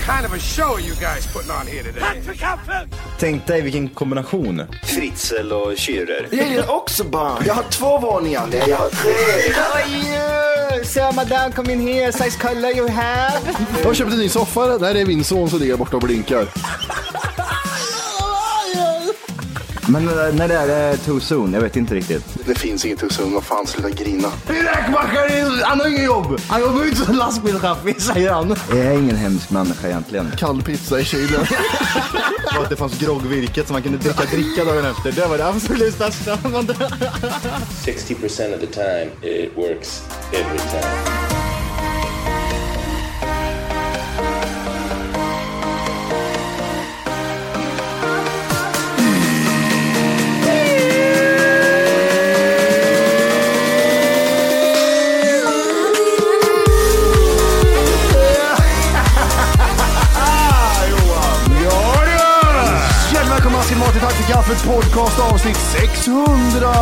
kind of a show are you guys putting on here today? Tänk dig vilken kombination. Fritzl och Schürrer. Jag är också barn. Jag har två våningar. Nej, jag har tre. Sir, madame, come in here. Size color you have. Jag har köpt en ny soffa. Där är min son som ligger borta och blinkar. Men eh, när det är det too soon? Jag vet inte riktigt. Det finns inget hos honom. Vad fan, sluta grina. Räkmackare, han har inget jobb. Han jobbar inte som lastbilschaffis, säger han. Jag är ingen hemsk människa egentligen. Kall pizza i kylen. Och att det fanns groggvirket som man kunde dricka dricka dagen efter. Det var det absolut största. 60% of the time, it works every time. Hjärtligt välkomna till Mat i takt för kaffet podcast avsnitt 600.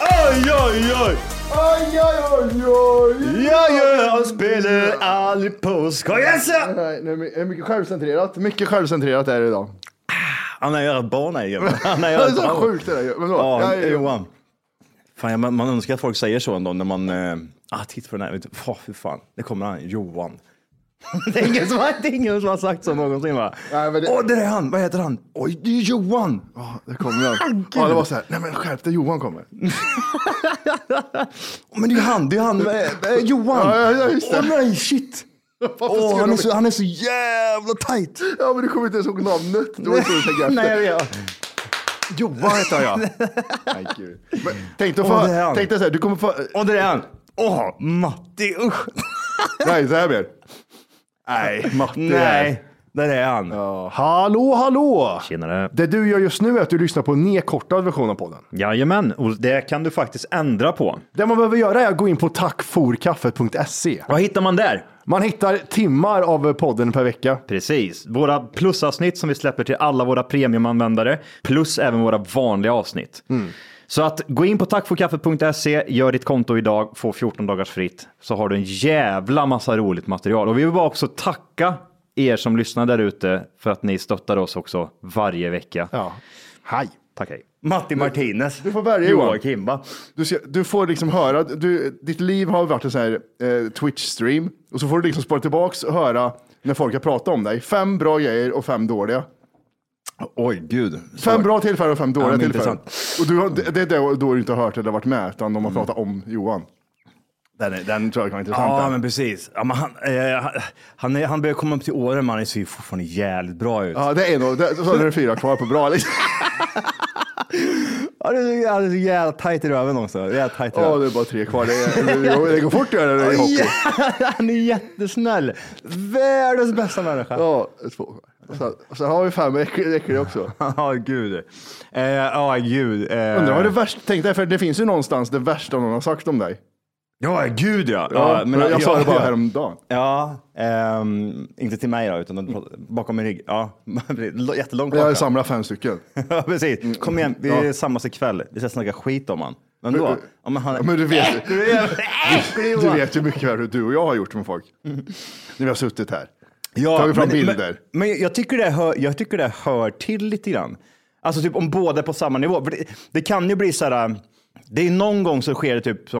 Oj, oj, oj! Jag gör spelar allt på skoj. Yes! Nej, nej, my- Mycket självcentrerat. Mycket självcentrerat är det idag. Han har görat barn här Jim. Han har Det är görat så barn. sjukt det där. Men då, Ja, jag är- Johan. Fan, jag- man, man önskar att folk säger så ändå när man... Eh, ah, titta på den här. Vet du, Fan, fy fan. Det kommer han, Johan. det, är ingen som, det är ingen som har sagt så någonsin va? Nej, Åh, men det... det- där är han. Vad heter han? Oj, det är Johan. Ja, det kommer han. Ja, det var så här. Nej men skärp dig, Johan kommer. Men det är ju han, det är han, eh, eh, Johan. Ja, ja, ja, just det. Åh nej, shit. Varför Åh, skulle han, är de- så, han är så jävla tajt. Ja, men du kommer inte ens ihåg namnet. Du har inte ens tänkt nej, efter. jag vet. Johan heter jag. Nej, gud. Men Tänk dig, Åh, det är oh, han. tänk dig så här, du kommer få... Och det är han. Åh, Matti, usch. Nej, så här mer. Nej, Matti är- Nej, där är han. Hallå, hallå! Tjenare. Det du gör just nu är att du lyssnar på en nedkortad version av podden. Jajamän, och det kan du faktiskt ändra på. Det man behöver göra är att gå in på tackforkaffet.se. Vad hittar man där? Man hittar timmar av podden per vecka. Precis. Våra plusavsnitt som vi släpper till alla våra premiumanvändare, plus även våra vanliga avsnitt. Så att gå in på tackforkaffet.se, gör ditt konto idag, få 14 dagars fritt, så har du en jävla massa roligt material. Och vi vill bara också tacka er som lyssnar där ute för att ni stöttar oss också varje vecka. Ja. Hej. Tack hej. Matti Martinez. Du får börja, Johan. Joakim, va? Du, ska, du får liksom höra, du, ditt liv har varit en sån här eh, Twitch-stream och så får du liksom spara tillbaks och höra när folk har pratat om dig. Fem bra grejer och fem dåliga. Oj, gud. Fem bra tillfällen och fem dåliga Ja, men tillfällen. Och du, har- det det är då- då du inte har hört eller varit med, utan de har pratat om Johan. Den, är- den tror jag kan vara intressant. Ja, den. men precis. Ja, men han, eh, han- han, är, han börjar komma upp till åren, men han ser ju fortfarande jävligt bra ut. ja det är nog, det, så är det fyra kvar på bra. Liksom. Ja, det är så- han är så jävla tajt i röven också. Jävla tajt i Ja, röven. det är bara tre kvar. Det, är, det, går, det går fort att göra det i hockey. Ja, han är jättesnäll. Världens bästa människa. Ja, Ja, två kvar. Och sen, och sen har vi fem äckliga äckliga också. gud. Eh, Ja, gud. Eh, Undrar vad det värsta, tänk dig, för det finns ju någonstans det värsta någon har sagt om dig. Ja, gud ja. Ja, men jag sa det bara häromdagen. Ja, ehm, inte till mig då, utan de pratar- bakom min rygg. Ja, jättelångt Jag bak. samlar fem stycken. Ja, precis. Kom igen, vi Mm. Ja. samlas ikväll. Vi ska snacka skit om han. Men då? Ja, men han Ja, men Äh, du vet- äh, Du är jävla äcklig, Du Johan. vet ju mycket väl hur du och jag har gjort med folk. När vi har suttit här. Ja, Tagit fram bilder. Men, men jag, tycker det hör, jag tycker det hör till lite grann. Alltså typ om båda är på samma nivå. För det, det kan ju bli så här, äh, det är någon gång så sker det typ som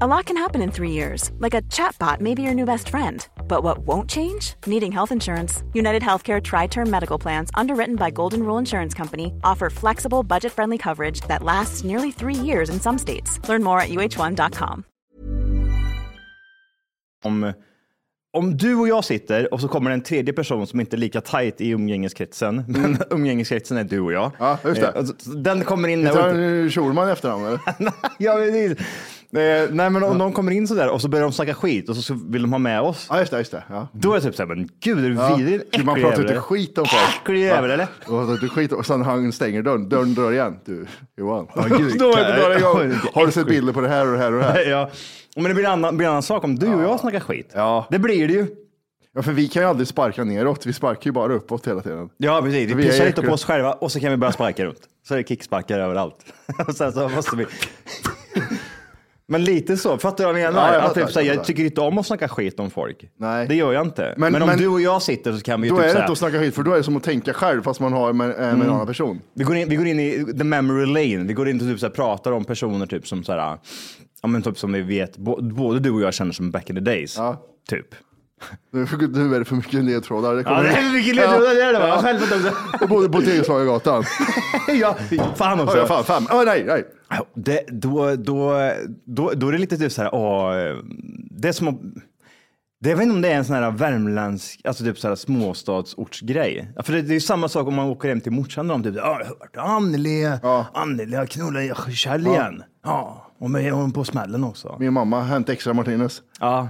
A lot can happen in three years, like a chatbot may be your new best friend. But what won't change? Needing health insurance. United Healthcare Tri Term Medical Plans, underwritten by Golden Rule Insurance Company, offer flexible, budget friendly coverage that lasts nearly three years in some states. Learn more at uh1.com. om om du och jag sitter och så kommer det en tredje person som inte är lika tajt i umgängeskretsen, men umgängeskretsen är du och jag. Mm. Ja, just det. Eh, och så- Den kommer in. Tar han Schulman efter honom eller? ja, precis. Eh, nej, men om de kommer in sådär och så börjar de snacka skit och så- så vill de ha med oss. Ja, just det. Just det. Ja. Då är jag typ såhär, men gud är du Ja. vidrig? Gud, man Äcklig pratar jävel. inte skit om folk. Äcklig jävel, eller? Och så, du skit och sen han stänger dörren, dörren drar igen. Du, Johan. gud, Då är det dörren ja, igång. vilken Har du sett äcklig. bilder på det här och det här och det här? Ja. Men det blir en annan, blir en annan sak om du och jag snackar skit. Ja. Det blir det ju. Ja, för vi kan ju aldrig sparka neråt. Vi sparkar ju bara uppåt hela tiden. Ja, precis. Vi Vi är pissar lite äckliga. på oss själva och så kan vi börja sparka runt. Så är det kicksparkar överallt. Och sen så måste vi... Men lite så, fattar du vad jag Ja, menar? jag att fattar, typ, såhär, jag jag fattar. tycker inte om att snacka skit om folk. Nej. Det gör jag inte. Men, Men- om men- du och jag sitter så Mm. kan vi ju Då typ är det såhär, inte att snacka skit, för då är det som att tänka själv fast man har med, eh, med en annan person. vi, går in, vi går in i the memory lane. Vi går in och typ, såhär, pratar om personer typ, som, såhär, ja, men, typ, som vi vet, bo, både du och jag känner som back in the days. Ja. Typ. Nu nu är det för mycket ledtrådar. Det Ja, kommer- det är mycket ledtrådar, det är det, va? Ja. Själv vet jag också. Jag bodde på Tegelslagargatan. ja, fan Ja, också. ja, fan, fan. Oh, nej, nej. Ja, Det, då, då, då, då är det lite typ så här, åh, det är som att, det, jag vet inte om det är en sån här värmländsk, alltså typ så här småstadsortsgrej. Ja, För det, det är ju samma sak om man åker hem till morsan och de typ, ja, jag hörde Anneli, Ja. Anneli har knullat Kjell igen. Ja, och med hon på smällen också. Min mamma har hänt extra Martinez. Ja,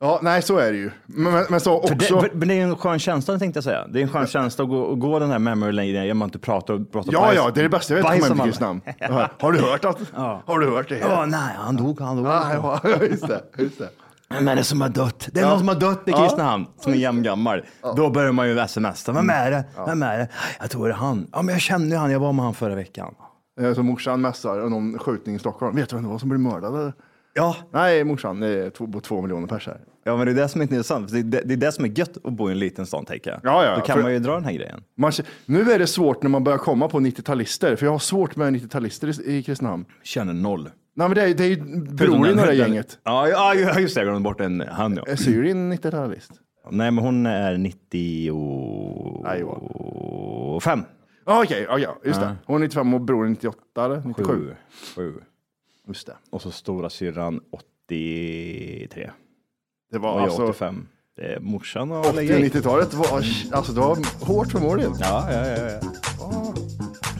Ja, nej, så är det ju. Men, men, men så för det, också. för, men det är en skön känsla tänkte jag säga. Det är en skön känsla att gå, att gå den här memory lane där man inte pratar och pratar Ja, bajs- ja, det är det bästa jag vet. bajs Kommer om alla. hem till Guds namn. Ja. Har du hört att? Har du hört det? här? Ja, nej, han dog, han dog. Ah, Ja, ja, just det. Just det. Vem är det som har dött? Det är någon som har dött i Kristinehamn som är jämngammal. Då börjar man ju smsa. Vem är det? Vem är det? Jag tror det är han. Ja, men jag kände ju han. Jag var med han förra veckan. Eh, Så morsan mässar om någon skjutning i Stockholm. Vet du vem det var som blev mördad? eller? Ja, Nej, morsan, det är två, två miljoner pers här. ja men det är det som är intressant. Det är det, det är det som är gött att bo i en liten stad, tänker jag. Ja, ja, Då kan för- man ju dra den här grejen. Man, k- nu är det svårt när man börjar komma på 90-talister, för jag har svårt med 90-talister i, i Kristinehamn. Känner noll. Nej, men det är, det är ju bror i det där gänget. Ja, ja, ja, just det. Jag glömde bort en han. Ja. Är Syrin 90-talist? Nej, men hon är Nej, 95. Johan. Ja, okej, ja, ja, just det. Hon är 95 och bror är 98, eller? 97. Sju. Sju. Just det. Och så stora syrran 83. Det var Och jag alltså... 85. Det är morsan och 90-talet var, alltså det var hårt för målet. Ja, ja, ja. ja.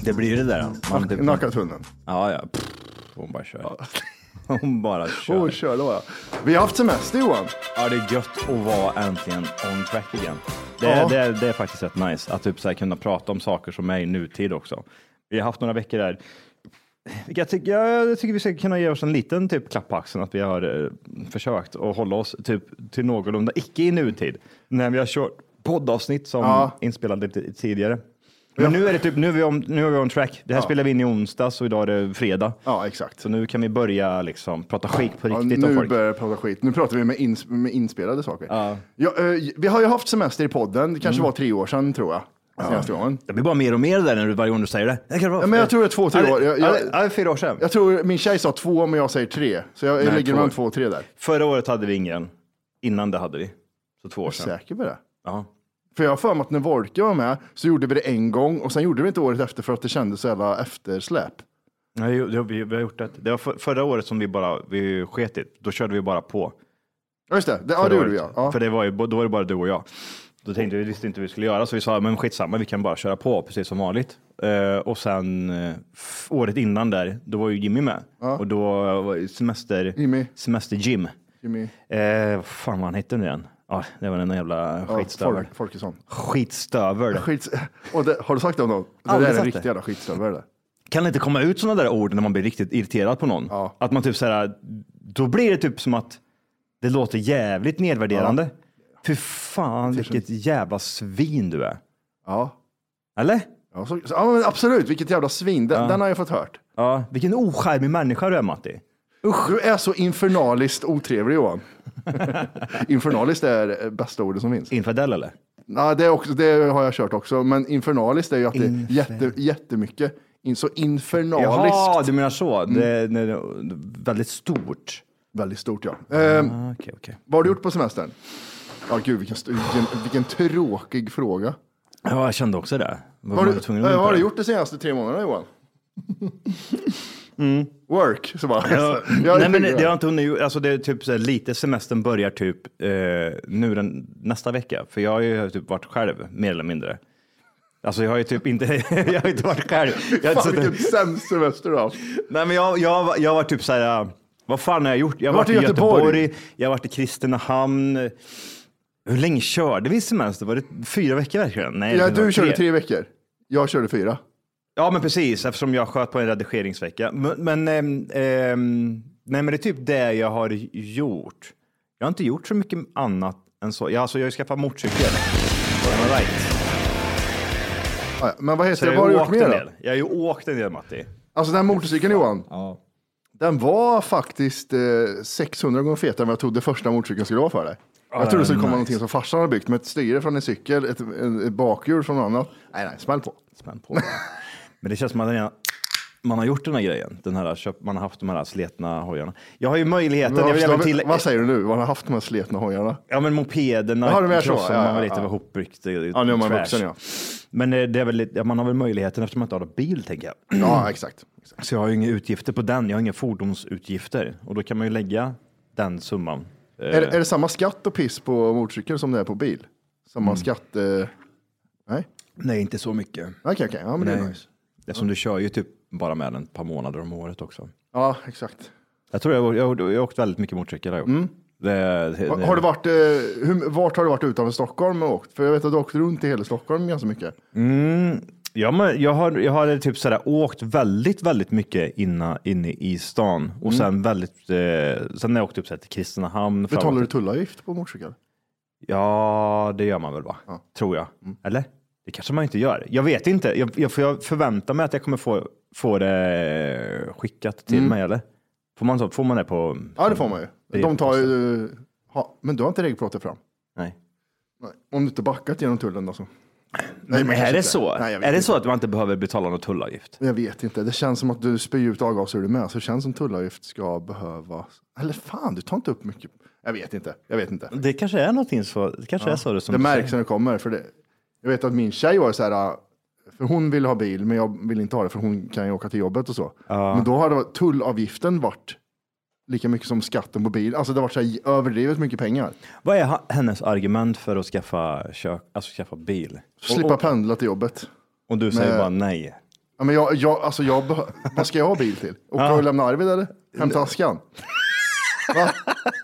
Det blir det där. Man typ, Nackatunnan. ja, ja. Pff, Hon bara kör. Hon bara kör. Åh, kör då. ja. Vi har haft semester Johan. Ja, det är gött att vara äntligen on track igen. Det är, Ja. det är, det är faktiskt rätt nice att typ så här kunna prata om saker som är i nutid också. Vi har haft några veckor där. Jag tycker, jag tycker vi ska kunna ge oss en liten typ klapp på axeln att vi har eh, försökt att hålla oss typ till någorlunda, icke i nutid, när vi har kört poddavsnitt som Ja. inspelade lite tidigare. Men nu är det typ, nu är vi on, nu är vi on track. Det här spelar vi in i onsdags och idag är det fredag. Ja, exakt. Så nu kan vi börja liksom prata skit på Ja, riktigt om nu folk. börjar jag prata skit. Nu pratar vi med, ins med inspelade saker. Ja, eh, vi har ju haft semester i podden. Det kanske Mm. var tre år sedan tror jag. Senaste gången. Det blir bara mer och mer där när du varje gång du säger det. det kan vara Ja, men jag tror det är två, tre Ja, det- år. Jag, ja, jag, det- ja, det är fyra år sedan. jag tror min tjej sa två, men jag säger tre. Så jag Nej, ligger två. mellan två och tre där. Förra året hade vi ingen. Innan det hade vi. Så två år Jag är sedan. säker på det. Ja. För jag har för mig att när Wolke var med så gjorde vi det en gång och sen gjorde vi inte året efter för att det kändes så jävla eftersläp. Nej, jo, det har vi, vi har gjort det. Det var för, förra året som vi bara vi sket i. Då körde vi bara på. Ja, just det. det ja, förra det gjorde vi. året. Ja. Ja. För det var ju, då var det bara du och jag. Då tänkte vi, visste inte hur vi skulle göra, så vi sa, men skitsamma, vi kan bara köra på precis som vanligt. Eh, och sen eh, f- året innan där, då var ju Jimmy med. Och då var ju semester, Jimmy. semester-Jim. Jimmy. Eh, vad fan vad han hette nu igen? Ja, det var den där jävla Ja, skitstövel. Folk- Folkesson. Skitstövel. Skits... Och det, har du sagt det om någon? Det Aldrig där är en sagt riktig det. jävla skitstövel. det. Kan det inte komma ut sådana där ord när man blir riktigt irriterad på någon? Ja. Att man typ så här, då blir det typ som att det låter jävligt nedvärderande. Fy Typ fan vilket jävla svin du är. Ja. Eller? Ja, så, så- ja men absolut, vilket jävla svin. Den, den har jag fått hört. Ja. Vilken ocharmig människa du är Matti. Usch. Du är så infernaliskt otrevlig Johan. infernaliskt är eh, bästa ordet som finns. Infidel eller? Ja, det, är också, det har jag kört också, men infernaliskt är ju att det är Infer- jätte, jättemycket. In, så infernaliskt, Jaha, du menar så. Mm. Det är, det är väldigt stort. väldigt stort ja. Ehm, Ah, Okej, okej. vad har du gjort på semestern? Ja, gud vilken, st- vilken, vilken tråkig fråga. Ja, jag kände också det. Var, Vad var har tvungen du, att eh, vad har vänta? du gjort de senaste tre månaderna Johan? Work. Så bara, Mm. Ja, Alltså, jag- nej, men det har inte hunnit, alltså det är typ så här, lite semestern börjar typ eh, nu den, nästa vecka, för jag har ju typ varit själv mer eller mindre. Alltså jag har ju typ inte, jag har inte varit själv. Jag har inte Fan suttit- vilken sämst semester du har haft. nej men jag, jag, jag var typ så här, vad fan har jag gjort? Jag har Du har varit i varit i Göteborg, Göteborg. jag har varit i Kristinehamn. Hur länge körde vi semester? Var det fyra veckor verkligen? Nej, Ja, det var du körde tre veckor. Jag körde fyra. Ja, men precis, eftersom jag sköt på en redigeringsvecka. Men, men, ehm, ehm, nej, men det är typ det jag har gjort. Jag har inte gjort så mycket annat än så. Jag, alltså, jag har ju skaffat motorcykel. Am I Right. Ah, Ja, ja. Men vad Så heter jag det? Vad har har du ju åkt gjort en mer del. då? Jag har ju åkt en del, Matti. Alltså den här motorcykeln Johan, Ja. den var faktiskt eh, 600 gånger fetare än vad jag trodde första motorcykeln skulle vara för dig. Jag trodde det skulle komma någonting som farsan hade byggt med ett styre från en cykel, ett, en- ett bakhjul från något annat. Nej, nej, smäll på. Spänn på. men det känns som att man, redan- man har gjort den här grejen. Den här, köp- man har haft de här sletna hojarna. Jag har ju möjligheten. Jag vill även Vad, till... vad säger du nu? Vad har han haft de här sletna hojarna? Ja, men mopederna. Jaha, du menar så. krossarna Ja, ja, var lite ja. ihopryckt. Ja, nu är man vuxen ja. Men eh, det är väl, lite- ja, man har väl möjligheten eftersom man inte har någon bil, tänker jag. Ja, exakt. exakt. Så jag har ju inga utgifter på den. Jag har inga fordonsutgifter och då kan man ju lägga den summan. Eh, Är, är det samma skatt och piss på motorcykel som det är på bil? Samma Mm. skatt? Eh... Nej, okej, Nej, inte så mycket. okej. Ja, men det är Nej. nice. Eftersom du kör ju typ bara med den ett par månader om året också. Ja, exakt. Jag tror jag, jag, jag har åkt väldigt mycket motorcykel. har jag gjort. Det, det, Mm. Har, har du varit, eh, hur, vart har du varit utanför Stockholm och åkt? För jag vet att du åkt runt i hela Stockholm ganska mycket. Ja, men jag har, jag har typ sådär, åkt väldigt, väldigt mycket inna, inne i stan och Mm. sen väldigt, eh, sen när jag åkte upp såhär, till Kristinehamn. framåt. Betalar du tullavgift på motorcykel? Ja, det gör man väl va? Tror jag. Mm. Eller? Det kanske man inte gör. Jag vet inte. Jag, jag, för jag förväntar mig att jag kommer få, få det skickat till mig, eller? Får man, så, får man det på... Mm. Ja, det får man ju. De tar ju... Ha, men du har inte regelplåtat fram? Nej. Nej. Om du inte backat genom tullen alltså. Men men är kanske det inte. så? Nej, jag vet är det inte. så att man inte behöver betala någon tullavgift? Jag vet inte. Det känns som att du spyr ut avgaser ur dig med, så det känns som tullavgift ska behövas. Eller fan, du tar inte upp mycket. Jag vet inte. Jag vet inte. Det kanske är någonting så. Det kanske är så det som Det du märks säger. när det kommer. För det, jag vet att min tjej var så här, äh, för hon ville ha bil, men jag vill inte ha det för hon kan ju åka till jobbet och så. Men då hade tullavgiften varit lika mycket som skatten på bil. Alltså det har varit så här, överdrivet mycket pengar. Vad är ha- hennes argument för att skaffa, kök, alltså skaffa bil? Slippa pendla till jobbet. Och du säger Men- bara nej. Ja, men jag, jag, alltså jag behö- vad ska jag ha bil till? Åka och lämna Arvid eller? Hämta askan? Va?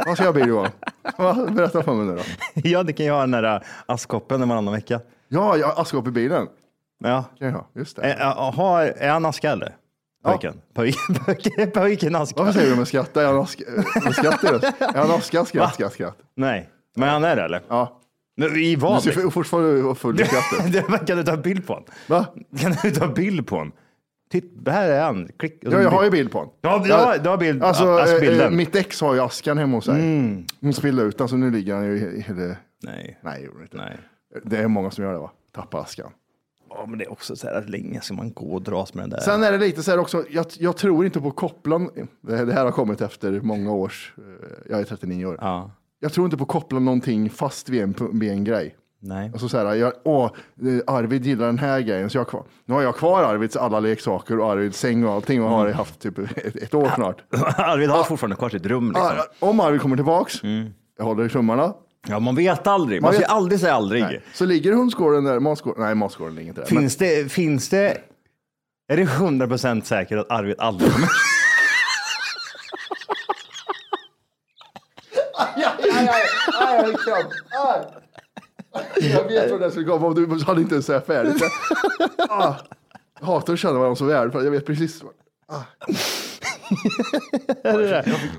Vad ska jag ha bil Johan? Va? Berätta för mig nu då. ja, det kan jag ha den där äh, askkoppen en varannan vecka. Ja, jag har askkopp i bilen. Ja. Kan jag ha, just det. Är, aha, är han aska eller? Pojken? Pojken, pojken, pojken aska? Varför säger du med skratt? Är han ask... Med skratt i röst? Är han aska? Skratt, skratt, skratt. Nej, men han är det eller? Ja. Men I Du vad? ser f- fortfarande full i skrattet. Det- Kan du ta en bild på honom? Va? Kan du ta en bild på honom? Titta, här är han. Klick. Ja, jag har ju bild på honom. Ja, du har- du har bild- Mm. Alltså, a- askbilden. eh, eh, mitt ex har ju askan hemma hos sig. Hon spillde ut den, så nu ligger han ju i i hela... Nej. Nej, gjorde hon inte. Nej. Det är många som gör det, va? Tappar askan. Ja, men det är också så här, hur länge ska man gå och dras med den där? Sen är det lite så här också, jag, jag tror inte på kopplan. Det det här har kommit efter många års, eh, jag är 39 år. Ja. Jag tror inte på koppla någonting fast vid en, vid en grej. Nej. Alltså så här, jag, åh, eh, Arvid gillar den här grejen, så jag har kvar. Nu har jag kvar Arvids alla leksaker och Arvids säng och allting och har Mm. det haft typ ett, ett år snart. Arvid har fortfarande kvar sitt rum. Liksom. Mm. Ar, om Arvid kommer tillbaks, jag håller i tummarna. Ja, man vet aldrig. Man, Man ska vet- aldrig säga aldrig. Nej. Så ligger hundskålen där, matskålen, nej matskålen ligger inte där. Men, Finns, det, finns det... Är det 100% säkert att Arvid aldrig kommer... jag vet vad det skulle komma om du hade inte ens säga färdigt. ah, jag hatar att känna varandra så väl, för jag vet precis. vad-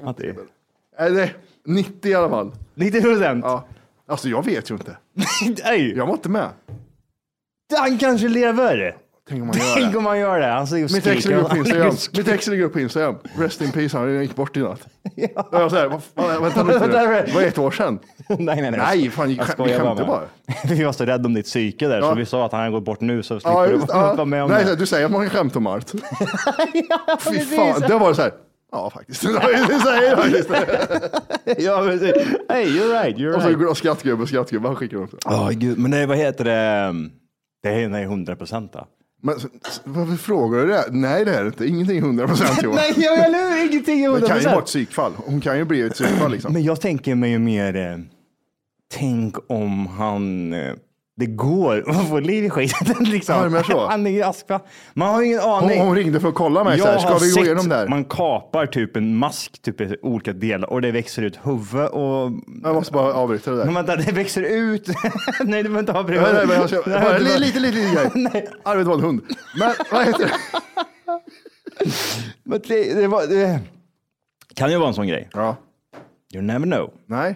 Matti? Nej, nej, 90 i alla fall. 90 procent? Ja. Alltså jag vet ju inte. Nej, Jag var inte med. han kanske lever! Tänk om man gör Tänk det. om han gör det. Han ser Mitt ex ligger upp på Instagram. skriker. Mitt ex ligger upp på Instagram. Rest in peace, han gick bort i natt. Ja. Jag var så här, vad fan, vänta lite nu. Det var ett år sedan. Nej, nej, nej. Nej, fan, Jag vi skojar skämtar med. vi var så rädda om ditt psyke där, så Ja. vi sa att han har gått bort nu så slipper Ja, du just, vara ja. med om Nej, det. du säger att man kan skämta om allt. Fy fan, det var så här. Ja, faktiskt. Det var ju- det säger jag faktiskt. ja, precis. Hey, you're right, Och you're så right. går skrattgubbe, skrattgubbe, han skickar upp. Åh, gud. Men nej, vad heter det? Det är nej, 100 procent. Men, så- så- varför frågar du det? Nej, det är det inte. Ingenting är 100 procent Johan. Nej, jag eller hur? Ingenting är Det kan ju vara 100%. ett psykfall. Hon kan ju bli ett psykfall liksom. Men jag tänker mig ju mer, eh, tänk om han, eh, det går att få liv i skiten liksom. Ja, men så. Han ligger i askfack. Man har ju ingen Hon, aning. hon ringde för att kolla mig. Så här, Jag ska har vi gå sett igenom det här? man kapar typ en mask, typ i olika delar och det växer ut huvud och... Jag måste bara avbryta det där. Men vänta, det växer ut. nej, du behöver inte ha bredvid. Nej, nej, men jag ska, bara, lite, lite, lite, lite grej. Nej. Arvid var en hund. Men vad heter det? Men det, det, var, det kan ju vara en sån grej. Ja. You never know. Nej.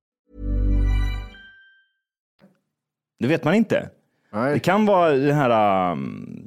Det vet man inte. Nej. Det kan vara det här, um,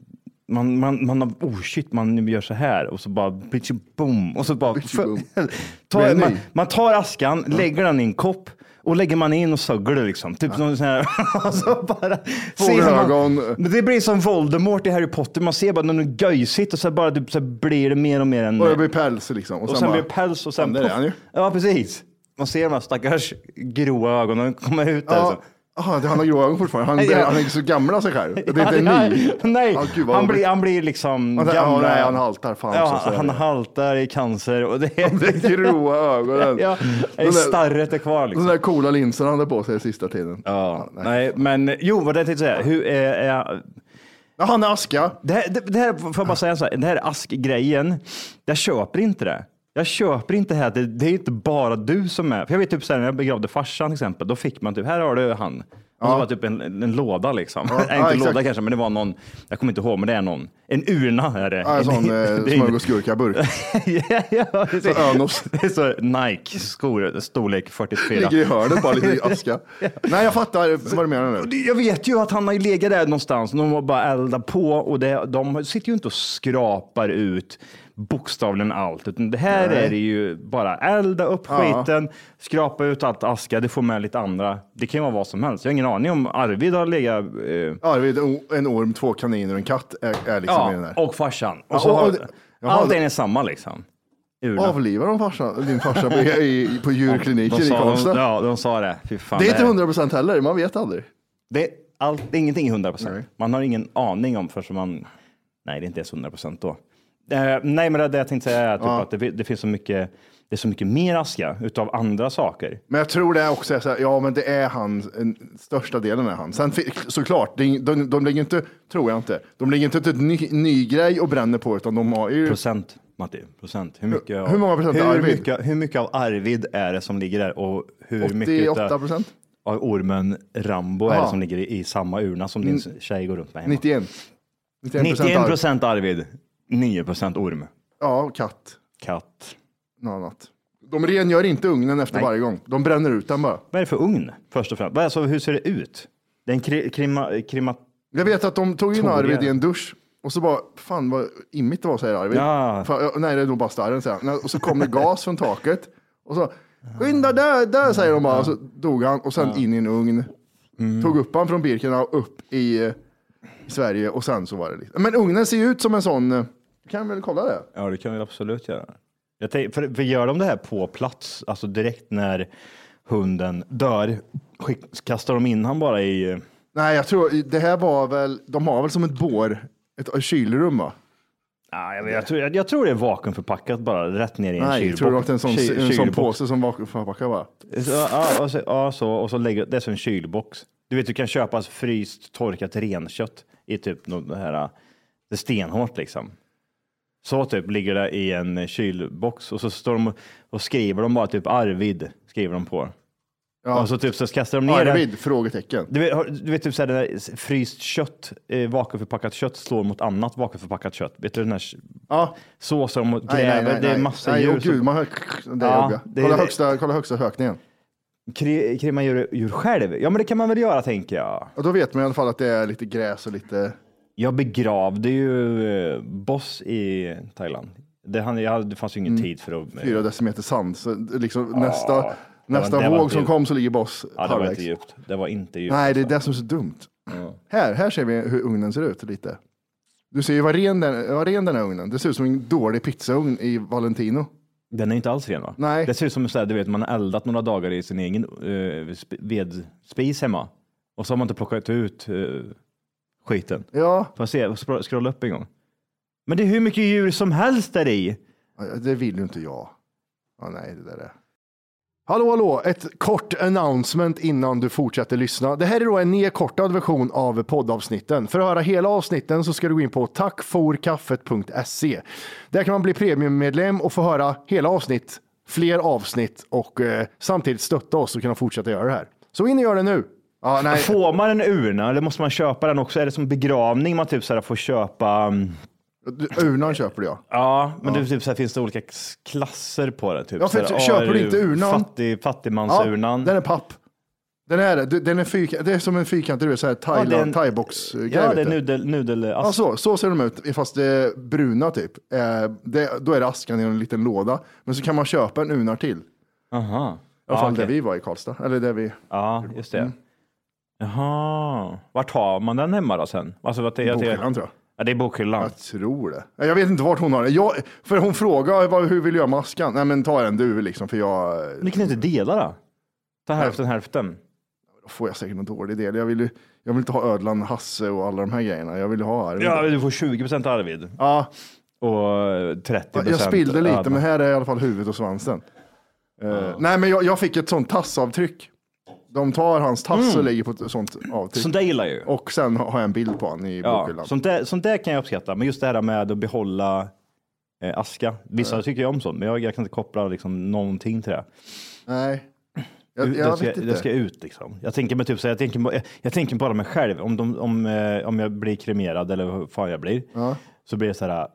man, man, man har, oh shit, man gör så här och så bara bitch boom. Och så bara, boom. tar, Men man, nej. man tar askan, lägger den i en kopp och lägger man in och söglar det liksom. Typ någon sån här. och så bara ser man- ögon. Men det blir som Voldemort i Harry Potter. Man ser bara något göjsigt och så bara typ, så här blir det mer och mer en... Och det blir päls liksom. Och sen blir det päls och sen... Där är han ju. Ja, precis. Man ser de här stackars gråa ögonen komma ut. där, liksom. Ja. så. Aha, det- han har grå ögon fortfarande. Han, Ja. han är så gammal sig själv. Det är inte en Ja, ny. Nej, Ja, gud, vad han, jobbigt. blir, han blir liksom Han- ja, gammal. nej, han haltar fan Ja, också, så är han det. haltar i cancer och det De där gråa ögonen. ja, De där- starret är kvar De liksom. där coola linserna han hade på sig sista tiden. Ja, nej, men jo, vad jag tänkte säga. Hur, eh, eh, Ja, han är aska. det, här, det, det här, får jag bara säga så här, det här askgrejen, jag köper inte det. Jag köper inte det här, det, det är inte bara du som är, för jag vet typ så här, när jag begravde farsan till exempel, då fick man typ, här har du han. Och så var det typ en, en, en låda liksom. Nej, inte ja, exakt. låda kanske, men det var någon, jag kommer inte ihåg, men det är någon, en urna är det. Ja, En sån eh, Det är- smörgåsgurkaburk. ja, ja, precis. Så Önos. Det är så Nike-skor, storlek 44. Ligger i hörnet bara lite aska. Nej, jag fattar vad du menar nu. Jag vet ju att han har ju legat där någonstans. De har bara eldat på och det, de sitter ju inte och skrapar ut bokstavligen allt. Utan det här är det ju bara elda upp skiten, skrapa ut allt aska. Det får med lite andra. Det kan ju vara vad som helst. Jag har ingen aning om Arvid har legat... Eh, Arvid, o- en orm, två kaniner och en katt är, är liksom i den ja, där. och farsan. Ja, Och så och- har, och det- Jaha, allt det- är samma liksom. Urna. Avlivar de farsa, din farsa på, i, på de djurkliniken i sa, Karlstad? de, ja, de sa det. Fy fan, det är inte här- hundra procent heller, man vet aldrig. Det är allt, det är ingenting är 100 procent. Nej. Man har ingen aning om förrän man... Nej, det är inte ens 100 procent då. Eh, nej, men det, det jag tänkte säga är typ att det, det finns så mycket, det är så mycket mer aska utav andra saker. Men jag tror det också är så här, ja men det är han, en, största delen är han. Sen fi- såklart, de, de, de lägger inte, tror jag inte, de lägger inte ut en ny, ny grej och bränner på utan de har ju, Procent, Matti. Procent. Hur, mycket av, hur många procent är hur Arvid? Mycket, hur mycket av Arvid är det som ligger där och hur mycket 88 utav, procent? av ormen Rambo är Aha. det som ligger i, i samma urna som din tjej går runt med hemma? 91. 91 91 procent. procent Arvid, 9 procent orm, Ja, katt, katt. något annat. De rengör inte ugnen efter varje gång, de bränner ut den bara. Vad är det för ugn först och främst? Vad är- Alltså, hur ser det ut? Det är en kri- krima, krima, Jag vet att de tog in Tog Arvid det. i en dusch och så bara, fan vad immigt det var, säger Arvid. Ja. Fan, ja, nej, det är nog bara starren, säger han. Nej, Och så kom det gas från taket. Och så, skynda där, där, säger de bara. Och så dog han och sen in i en ugn. Mm. Tog upp han från Birkenau upp i eh, Sverige och sen så var det liksom. Men ugnen ser ju ut som en sån, eh, du kan väl kolla det? Ja, det kan vi absolut göra. Jag tänk, för, för gör de det här på plats, alltså direkt när hunden dör, skick, kastar de in han bara i... eh, Nej, jag tror, det här var väl, de har väl som ett bår, ett kylrum va? Ah, jag, vet, jag, tror, jag, jag tror det är vakuumförpackat bara rätt ner i en Nej, kylbox. tror du att det är en sån, Kyl- en sån kylbox. påse som vakuumförpackar va? Så, Ja, och så, ja, så, och så lägger, det är som en kylbox. Du vet, du kan köpa alltså fryst torkat renkött i typ någon- det här det är stenhårt liksom. Så typ ligger det i en kylbox och så står de och- och skriver de bara typ Arvid skriver de på. Ja. Och så typ så kastar de ner den. Arvid? Frågetecken. Du vet, har- du vet typ så här, det där fryst kött, eh, vakuumförpackat kött slår mot annat vakuumförpackat kött. Vet du den här Ja. så som gräver, Nej, nej, nej, det är nej. massa nej, djur. Åh, gud, som, man hör... Det är Ja, jobbiga. det är- kolla, högsta, kolla högsta hökningen. kri, kri, man gör djur själv? Ja, men det kan man väl göra tänker jag. Och då vet man i alla fall att det är lite gräs och lite... Jag begravde ju eh, Boss i Thailand. Det, han, jag, hade- det fanns ju ingen tid för att... Mm. eh, fyra decimeter sand. Så liksom nästa, var- det nästa var våg inte som djupt. kom så ligger Boss ja, det var halvvägs. inte djupt. Det var inte djupt. Nej, det är det som är så dumt. Här, här ser vi hur ugnen ser ut lite. Du ser ju vad ren den, vad ren den här ugnen. Det ser ut som en dålig pizzaugn i Valentino. Den är inte alls ren va? Nej. Det ser ut som så här, du vet, man har eldat några dagar i sin egen eh, sp- vedspis hemma. Och så har man inte plockat ut eh, skiten. Ja, Får jag se? Scro- Scrolla upp en gång. Men det är hur mycket djur som helst där i. det vill ju inte jag. Ja, nej, det där är... Hallå, hallå! Ett kort announcement innan du fortsätter lyssna. Det här är då en nedkortad version av poddavsnitten. För att höra hela avsnitten så ska du gå in på tackforkaffet.se. Där kan man bli premiummedlem och få höra hela avsnitt, fler avsnitt och eh, samtidigt stötta oss och kunna fortsätta göra det här. Så in och gör det nu! Ja, nej. Får man en urna eller måste man köpa den också? Är det som begravning man typ så här får köpa? mm, Du- Urnan köper du ja. Ja, men det typ så här, finns det olika s- klasser på det? Typ, Ja, för så här, köper du inte ARU, urnan- Fattig, ja fattigmansurnan. den är papp. Den är det. Du- Den är fyrka- det är som en fyrkantig, du vet, så här Ja, thailand, det är en- thaibox-grej. Ja, vet det är du. Alltså- nudel, eh, nudelask. Ja, så, så ser de ut, fast det är bruna typ. Eh, det, då är det askan i en liten låda. Men så kan man köpa en unar till. I Aha. alla fall Ja, okej. där vi Mm. var i Karlstad. Eller där vi Ja, just det. Jaha. Vart har man den hemma då sen? Alltså, vad det, bokhyllan tror jag. Ja, det är bokhyllan. Jag tror det. Nej, Jag vet inte vart hon har det. Jag, för hon frågade vad, hur vill jag göra med askan? Nej men ta den du liksom för jag Ni kan inte dela då? Ta hälften hälften. då får jag säkert någon dålig del. Jag vill ju jag vill inte ha Ödlan, Hasse och alla de här grejerna. Jag vill ju ha Arvid. Ja, du får 20 procent Arvid Ja, och 30 procent. jag spillde lite men här är i alla fall huvudet och svansen. Eh, Nej men jag, jag fick ett sånt tassavtryck. De tar hans tass Mm. och lägger på ett sånt avtryck. Sånt där gillar jag ju. Och sen har jag en bild på honom i Ja, bokhyllan. sånt, där, sånt där kan jag uppskatta, men just det här med att behålla eh, aska. Vissa tycker ju om sånt, men jag, jag kan inte koppla liksom, någonting till det. Nej, jag, Ut- jag det, ska, vet inte. det ska ut liksom. Jag tänker, mig typ, så här, jag tänker, bara- jag, jag tänker bara mig själv. Om, de, om, eh, om jag blir kremerad eller hur fan jag blir, så blir det så här.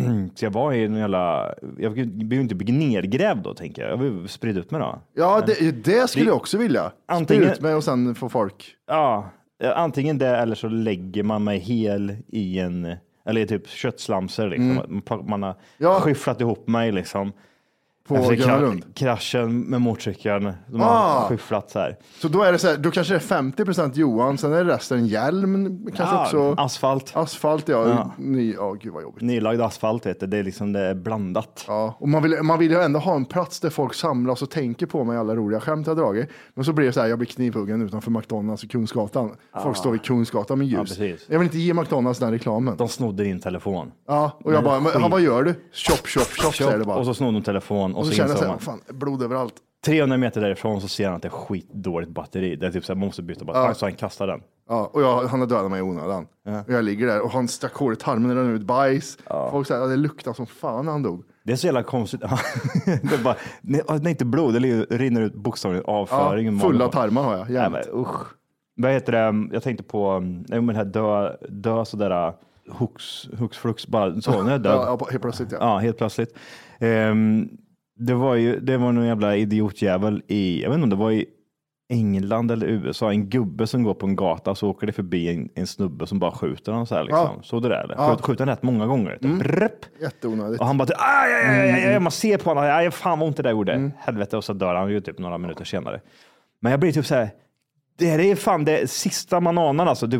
ska jag vara i en jävla... Jag blir ju inte nedgrävd då, tänker jag. Jag vill sprida ut mig då. Ja, det, det skulle jag också vilja. Antingen- Antingen... ut mig och sen få folk. Ja, eh, antingen det eller så lägger man mig hel i en, eller i typ köttslamser liksom. Man, man har Mm. Ja. skyfflat ihop mig liksom. På Efter Gröna Lund. kraschen med motorcykeln. De Ah. har skyfflat så här. Så då är det så här, då kanske det är 50 procent Johan, sen är det resten hjälm, kanske Ja, också Asfalt. asfalt. Ja, Ja. Ny, ja, gud vad jobbigt. Nylagd asfalt vet du. Det är liksom det är blandat. Ja, och man vill, man vill ju ändå ha en plats där folk samlas och tänker på mig alla roliga skämt jag dragit. Men så blir det så här, jag blir knivhuggen utanför McDonalds och Kungsgatan. Folk står vid Kungsgatan med ljus. Ah. precis. jag vill inte ge McDonalds den reklamen. De snodde din telefon. Ja, och jag bara, men, skit. "Ha, vad gör du? Chop, chop, chop, säger det bara. Och så snodde de telefon och, Och så, så, känner jag insåg så man. här, fan, blod överallt. 300 meter därifrån så ser han att det är skitdåligt batteri. Det är typ så här, man måste byta batteri. Så han kastar den. Ja, och jag, han har dödat mig i onödan. Och jag ligger där och han stack hål i tarmen, det rann ut bajs. Folk säger att det luktar som fan när han dog. Det är så jävla konstigt. Ja, det är bara, nej, ja, nej, inte blod, det ligger- rinner ut bokstavligen Ja, avföring. ur magen. fulla tarmar har jag, Nej, jämt. men usch. Vad heter det? Jag tänkte på mm, nej, men det här dö, dö sådär hux, hux flux, bara så, nu är jag död. Ja, ja, helt plötsligt ja. Ja, helt plötsligt. Ehm, det var ju, det var någon jävla idiotjävel i, jag vet inte om det var i England eller USA, en gubbe som går på en gata så åker det förbi en, en snubbe som bara skjuter honom så här liksom. Ja. Så det där, eller? Ja. Skjut, skjuter han rätt många gånger. Mm. Jätteonödigt. Och han bara, typ, aj, aj, aj, aj, Mm. aj, man ser på honom, aj, fan vad ont det där gjorde. Helvete, och så dör han ju typ några minuter senare. Men jag blir typ så här, det här är fan det sista man anar alltså. Du,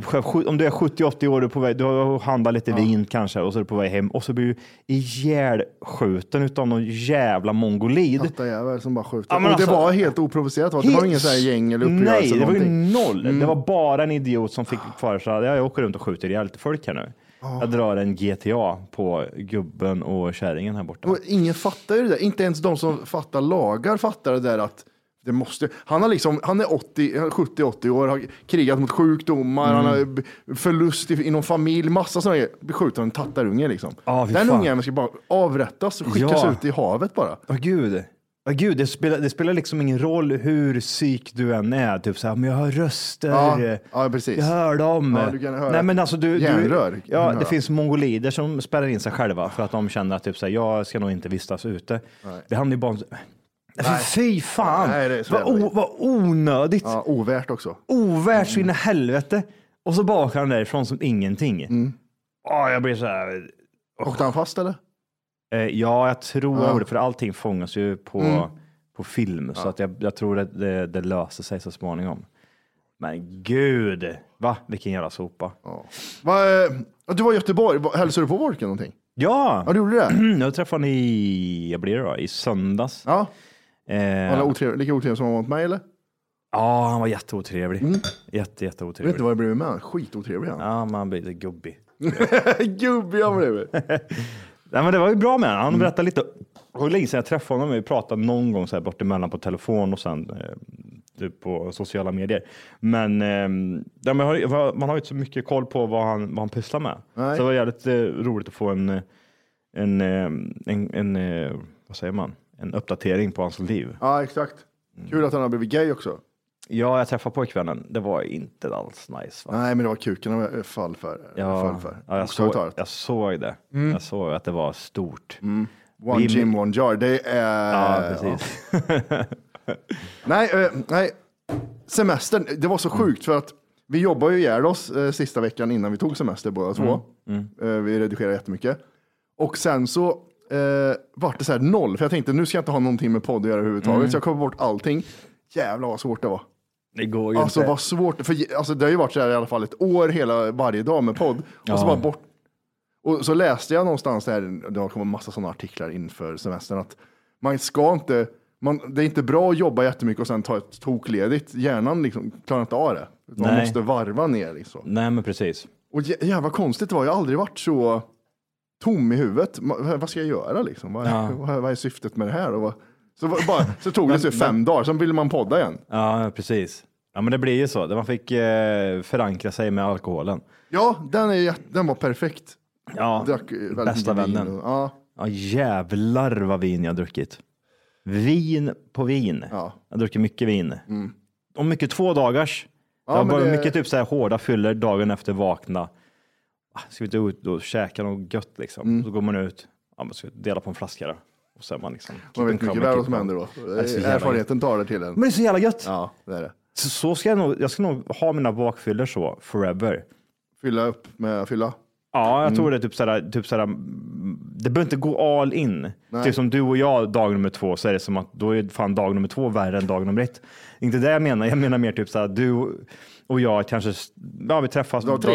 om du är 70-80 år, du, är på väg, du har handlat lite vin kanske och så är du på väg hem och så blir du ihjälskjuten utav någon jävla mongolid. Hattarjävel som bara skjuter. Ja, men och det alltså- var helt oprovocerat. va? Det var ingen sån här gäng eller uppgörelse. Nej, det var ju någonting. Mm. noll. Det var bara en idiot som fick för sig att jag åker runt och skjuter ihjäl lite folk här nu. Ah. Jag drar en GTA på gubben och kärringen här borta. Och ingen fattar ju det där. Inte ens de som fattar lagar fattar det där att Det måste, han, har liksom, han är 80, 70-80 år, har krigat mot sjukdomar, han Mm. har b- förlust i- inom familj, massa sådana grejer. Blir skjuten av en tattarunge liksom. Ja, fy Den fan. ungen ska bara avrättas och skickas Ja. ut i havet bara. Åh gud. Åh gud, det spelar, det spelar liksom ingen roll hur psyk du än är. Typ så här, men jag hör röster. Eh, Ja, ja, precis. Jag hör dem. Ja, du kan höra Nej, men alltså, du, järnrör. Mm, du, ja, Kan det höra. finns mongolider som spärrar in sig själva för att de känner att typ så här, jag ska nog inte vistas ute. Det handlar ju bara om... Fy fan! Nej, det är så vad, jävla o, vad onödigt! Ja, Mm. ovärt också. Ovärt så in i helvete! Och så bakar han därifrån som ingenting. Mm. jag blir så här... Åkte han fast eller? Eh, ja, jag tror jag gjorde det, för allting fångas ju på, Mm. på film, så att jag, jag tror att det, det löser sig så småningom. Men gud, va? Vilken jävla sopa. Va, eh, du var i Göteborg, Va- hälsade du på Wolken någonting? Ja, Ja, du gjorde det? jag träffade honom i, jag blir det då, i söndags. Ja, Ja, eh, Alla otrevlig, lika otrevlig som han var mot mig eller? ja han var jätteotrevlig. Jätte, Jag Mm. vet inte jätteotrevlig. vad jag blev med han. Skitotrevlig han. Ja, man blir lite gubbig. Gubbe jag blev. Nej, men det var ju bra med honom. Han berättade lite. Det var länge sedan jag träffade honom. Vi pratade någon gång så här bortemellan på telefon och sen eh, typ på sociala medier. Men, eh, ja, men har- va- man har ju inte så mycket koll på vad han, vad han pysslar med. Nej. Så det var jävligt eh, roligt att få en, eh, en, eh, en, en, eh, vad säger man? en uppdatering på hans liv. Ja, exakt. Kul att han har blivit gay också. Ja, jag träffade pojkvännen. Det var inte alls nice. Va? Nej, men det var kuken han fall för. fall för. ja, jag, såg, Bokstavligt talat. jag såg det. Mm. Jag såg att det var stort. One vi- gym, one jar. Det är... Ja, precis. Nej, eh, nej, semestern, det var så Mm. sjukt för att vi jobbade ju ihjäl oss eh, sista veckan innan vi tog semester båda två. Mm, Eh, vi redigerade jättemycket. Och sen så eh, vart det så här noll, för jag tänkte nu ska jag inte ha någonting med podd att göra överhuvudtaget, Mm. så jag kom bort allting. Jävlar vad svårt det var. Det går ju Alltså inte. vad svårt, för alltså, det har ju varit så här i alla fall ett år hela, varje dag med podd. Och så bara bort. Och så läste jag någonstans där, det har kommit massa sådana artiklar inför semestern, att man ska inte, man, det är inte bra att jobba jättemycket och sen ta ett tokledigt. Hjärnan liksom klarar inte av det. Man Nej. måste varva ner liksom. Nej, men precis. Och jä- jävla konstigt det var, jag har aldrig varit så tom i huvudet. Ma- Vad ska jag göra liksom? Vad, vad, vad är syftet med det här? Och vad, så, var- bara, så tog det sig fem dagar, sen ville man podda igen. Ja, precis. Ja, men det blir ju så. Man fick eh, förankra sig med alkoholen. Ja, den, är, jätte- den var perfekt. Ja, Drack eh, väldigt bästa mycket vin vännen. och- Ja, Ja, jävlar vad vin jag har druckit. Vin på vin. Ja. Mm. Jag har druckit mycket vin. Och mycket två dagars. det men var bara det- mycket typ så här hårda fyller dagen efter vakna. Ah, Ska vi inte ut och käka något gött liksom? Mm. Så går man ut, ja, man ska dela på en flaska då. Och så är man liksom... man vet mycket väl vad som händer då. är så jävla- Erfarenheten talar till en. Men det är så jävla gött. Ja, det är det. Så, så ska jag nog, jag ska nog ha mina bakfyllor så forever. Fylla upp med fylla. Ja, Mm. jag tror det är typ sådär, typ sådär, det behöver inte gå all in. Typ som du och jag dag nummer två, så är det som att då är fan dag nummer två värre än dag nummer ett. Inte det jag menar, jag menar mer typ såhär, du och jag kanske, ja vi träffas. Dag tre.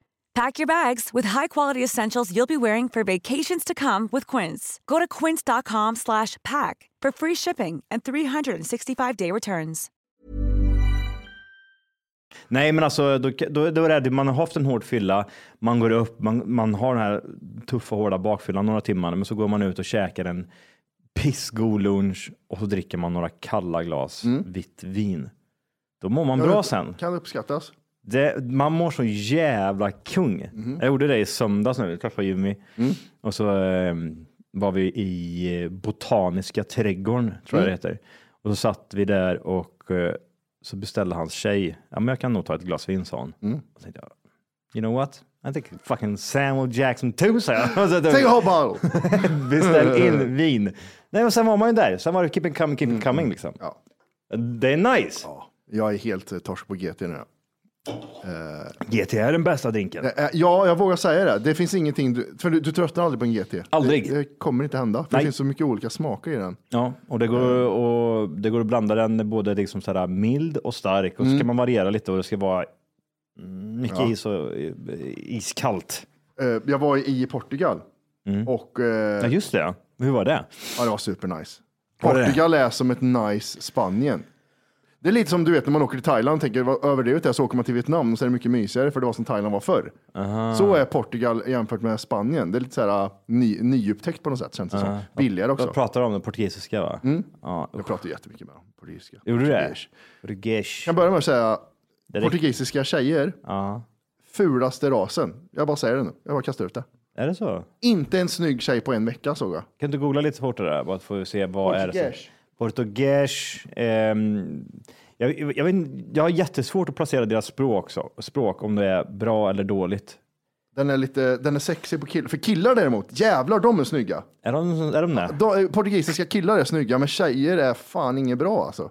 Pack your bags with high-quality essentials you'll be wearing for vacations to come with Quince. Go to quince.com/pack slash pack for free shipping and 365-day returns. Nej, men alltså då, då, då är det, man har haft en hård fylla, man går upp, man, man har den här tuffa hårda bakfyllan några timmar, men så går man ut och käkar en pissgod lunch och så dricker man några kalla glas vitt vin. Då mår man bra sen. Kan uppskattas. Det, man mår så jävla kung. Jag gjorde det i söndags nu, jag träffade Jimmy. Och så eh, var vi i eh, Botaniska trädgården, tror jag det heter. Och så satt vi där och eh, så beställde hans tjej, ja men jag kan nog ta ett glas vin, sa hon. Och tänkte jag, you know what? I think fucking Samuel Jackson too, sa jag. Och så- Take a whole bottle. Beställ in vin. Nej, men sen var man ju där. Sen var det keep it coming, keep it coming liksom. Ja. Det är nice. Jag är helt eh, torsk på GT nu. GT är den bästa drinken. Eh, eh, Ja, jag vågar säga det. Det finns ingenting, du, för du, du tröttnar aldrig på en GT. Aldrig. Det, det kommer inte hända. För det Nej. finns så mycket olika smaker i den. Ja, och det, går, Eh. och det går att blanda den både liksom så här mild och stark och så ska man variera lite och det ska vara Mycket Mm. Ja. is och eh, iskallt. Eh, Jag var i Portugal Mm. och eh, Ja, just det. Hur var det? ja, det var supernice. Var det det? Portugal är som ett nice Spanien. Det är lite som du vet när man åker till Thailand och tänker vad överdrivet är så åker man till Vietnam och så är det mycket mysigare för det var som Thailand var förr. Så är Portugal jämfört med Spanien. Det är lite så här ah, ny, nyupptäckt på något sätt känns det som. Billigare också. Jag pratar om den portugisiska va? Mm. Ja, Jag pratar jättemycket med dem, portugisiska. Gjorde du det? Portugis. Portugis. Jag börjar med att säga är- portugisiska tjejer, Ja. fulaste rasen. Jag bara säger det nu, jag bara kastar ut det. Är det så? Inte en snygg tjej på en vecka såg jag. Kan du googla lite fortare där? Bara för att se vad är det Portugis. som... Portugis. ehm, jag, jag, jag, vet, inte- jag har jättesvårt att placera deras språk, också, språk om det är bra eller dåligt. Den är lite, den är sexig på killar. För killar däremot, jävlar de är snygga. Är de, är de det? De, eh, portugisiska killar är snygga, men tjejer är fan inget bra alltså.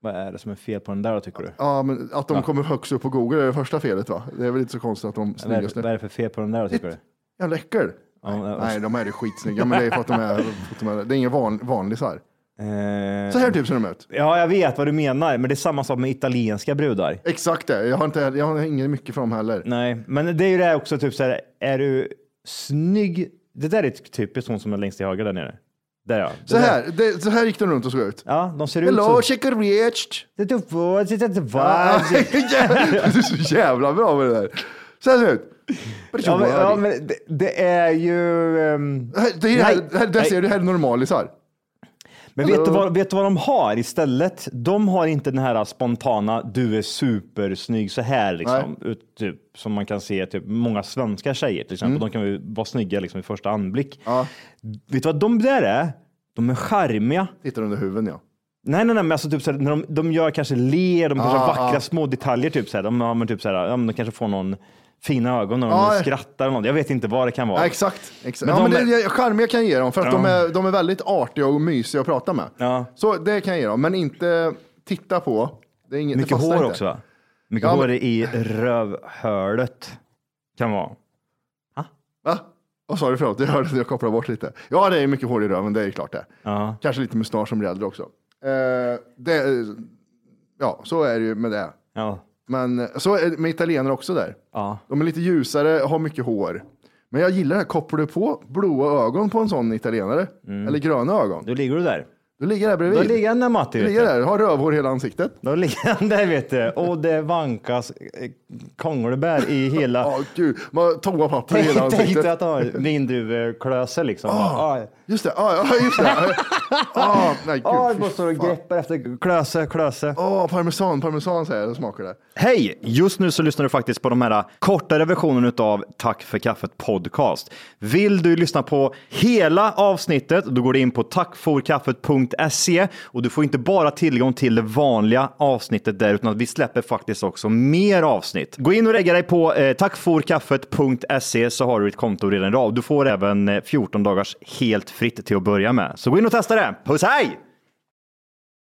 Vad är det som är fel på den där då, tycker du? Ja, men att de kommer högst upp på Google är det första felet va? Det är väl inte så konstigt att de Vad är, snyggaste... vad är det för fel på den där då, tycker du? Jävla äckel. Nej, men- nej, de är ju skitsnygga, men det är för att de är... För att de är det är inga van, vanlisar. Eh, Så här typ ser de ut. Ja, jag vet vad du menar, men det är samma sak med italienska brudar. Exakt det. Jag har, inte, jag har inget mycket för dem heller. Nej, men det är ju det här också, typ så här, är du snygg? Det där är typiskt hon som är längst till höger där nere. Där ja. Det Så där. här, det, så här gick de runt och såg ut. Ja, de ser Hello, ut så. chicken reached. Det är typ vad, det är typ Ah, vad. jävlar, du är så jävla bra med det där. Så här ser det ut. Ja, men, ja, men det, det är ju... ehm, Det här- det är det här, Nej. det här, där ser du, det här är normalisar. Men vet du, vad, vet du vad de har istället? De har inte den här spontana, du är supersnygg så här liksom. Ut, typ, som man kan se typ många svenska tjejer till exempel. De kan ju vara snygga liksom i första anblick. Mm. Ja. Vet du vad de där är? De är charmiga. Tittar under huven ja. Nej, nej, nej, men alltså typ så här, när de, de gör kanske ler, de kanske Ah, vackra ah. små detaljer, typ så här. De, ja, men typ så här, ja, men de kanske får någon fina ögon när de Ah, Ja. skrattar eller något. Jag vet inte vad det kan vara. ja exakt. Men exakt. ja, de men det, är- är... Charmiga kan jag ge dem för att de, är, de är väldigt artiga och mysiga att prata med. Ja. Så det kan jag ge dem, men inte titta på. Det är inget, det Mycket fastnar hår inte. också, va? Mycket Ja, men- hår i rövhålet kan vara. Va? Vad sa du förlåt? Jag hörde att jag kopplade bort lite. Ja, det är mycket hår i röven, det är klart det. Ja. Kanske lite mustasch som blir äldre också. Eh, det, ja, så är det ju med det. Ja. Men eh, så är det med italienare också där. Ja. De är lite ljusare, har mycket hår. Men jag gillar det här, kopplar du på blåa ögon på en sån italienare, eller gröna ögon, Då ligger Mm. du där. då ligger det bredvid. Då ligger han där Matti. Du Vet ligger du. där, har rövhår i hela ansiktet. Då ligger han där vet du. Och det vankas eh, kångelbär i hela... Ja, gud. Man toapapper i Tänk hela tänk dig ansiktet. att han har vindruvklöse liksom. Bara, ah, Just det, ja, ja, just det. Ah, nej, gud. Ja, fy du bara står och fan. greppar efter klöse, klöse. Åh, parmesan, parmesan säger jag, det smakar det. Hej! Just nu så lyssnar du faktiskt på de här kortare versionerna av Tack för kaffet podcast. Vill du lyssna på hela avsnittet, då går du in på tackforkaffet.se och du får inte bara tillgång till det vanliga avsnittet där, utan att vi släpper faktiskt också mer avsnitt. Gå in och lägga dig på eh, tackforkaffet.se så har du ditt konto redan idag. Du får även eh, 14 dagars helt fritt till att börja med. Så gå in och testa det. Puss hej!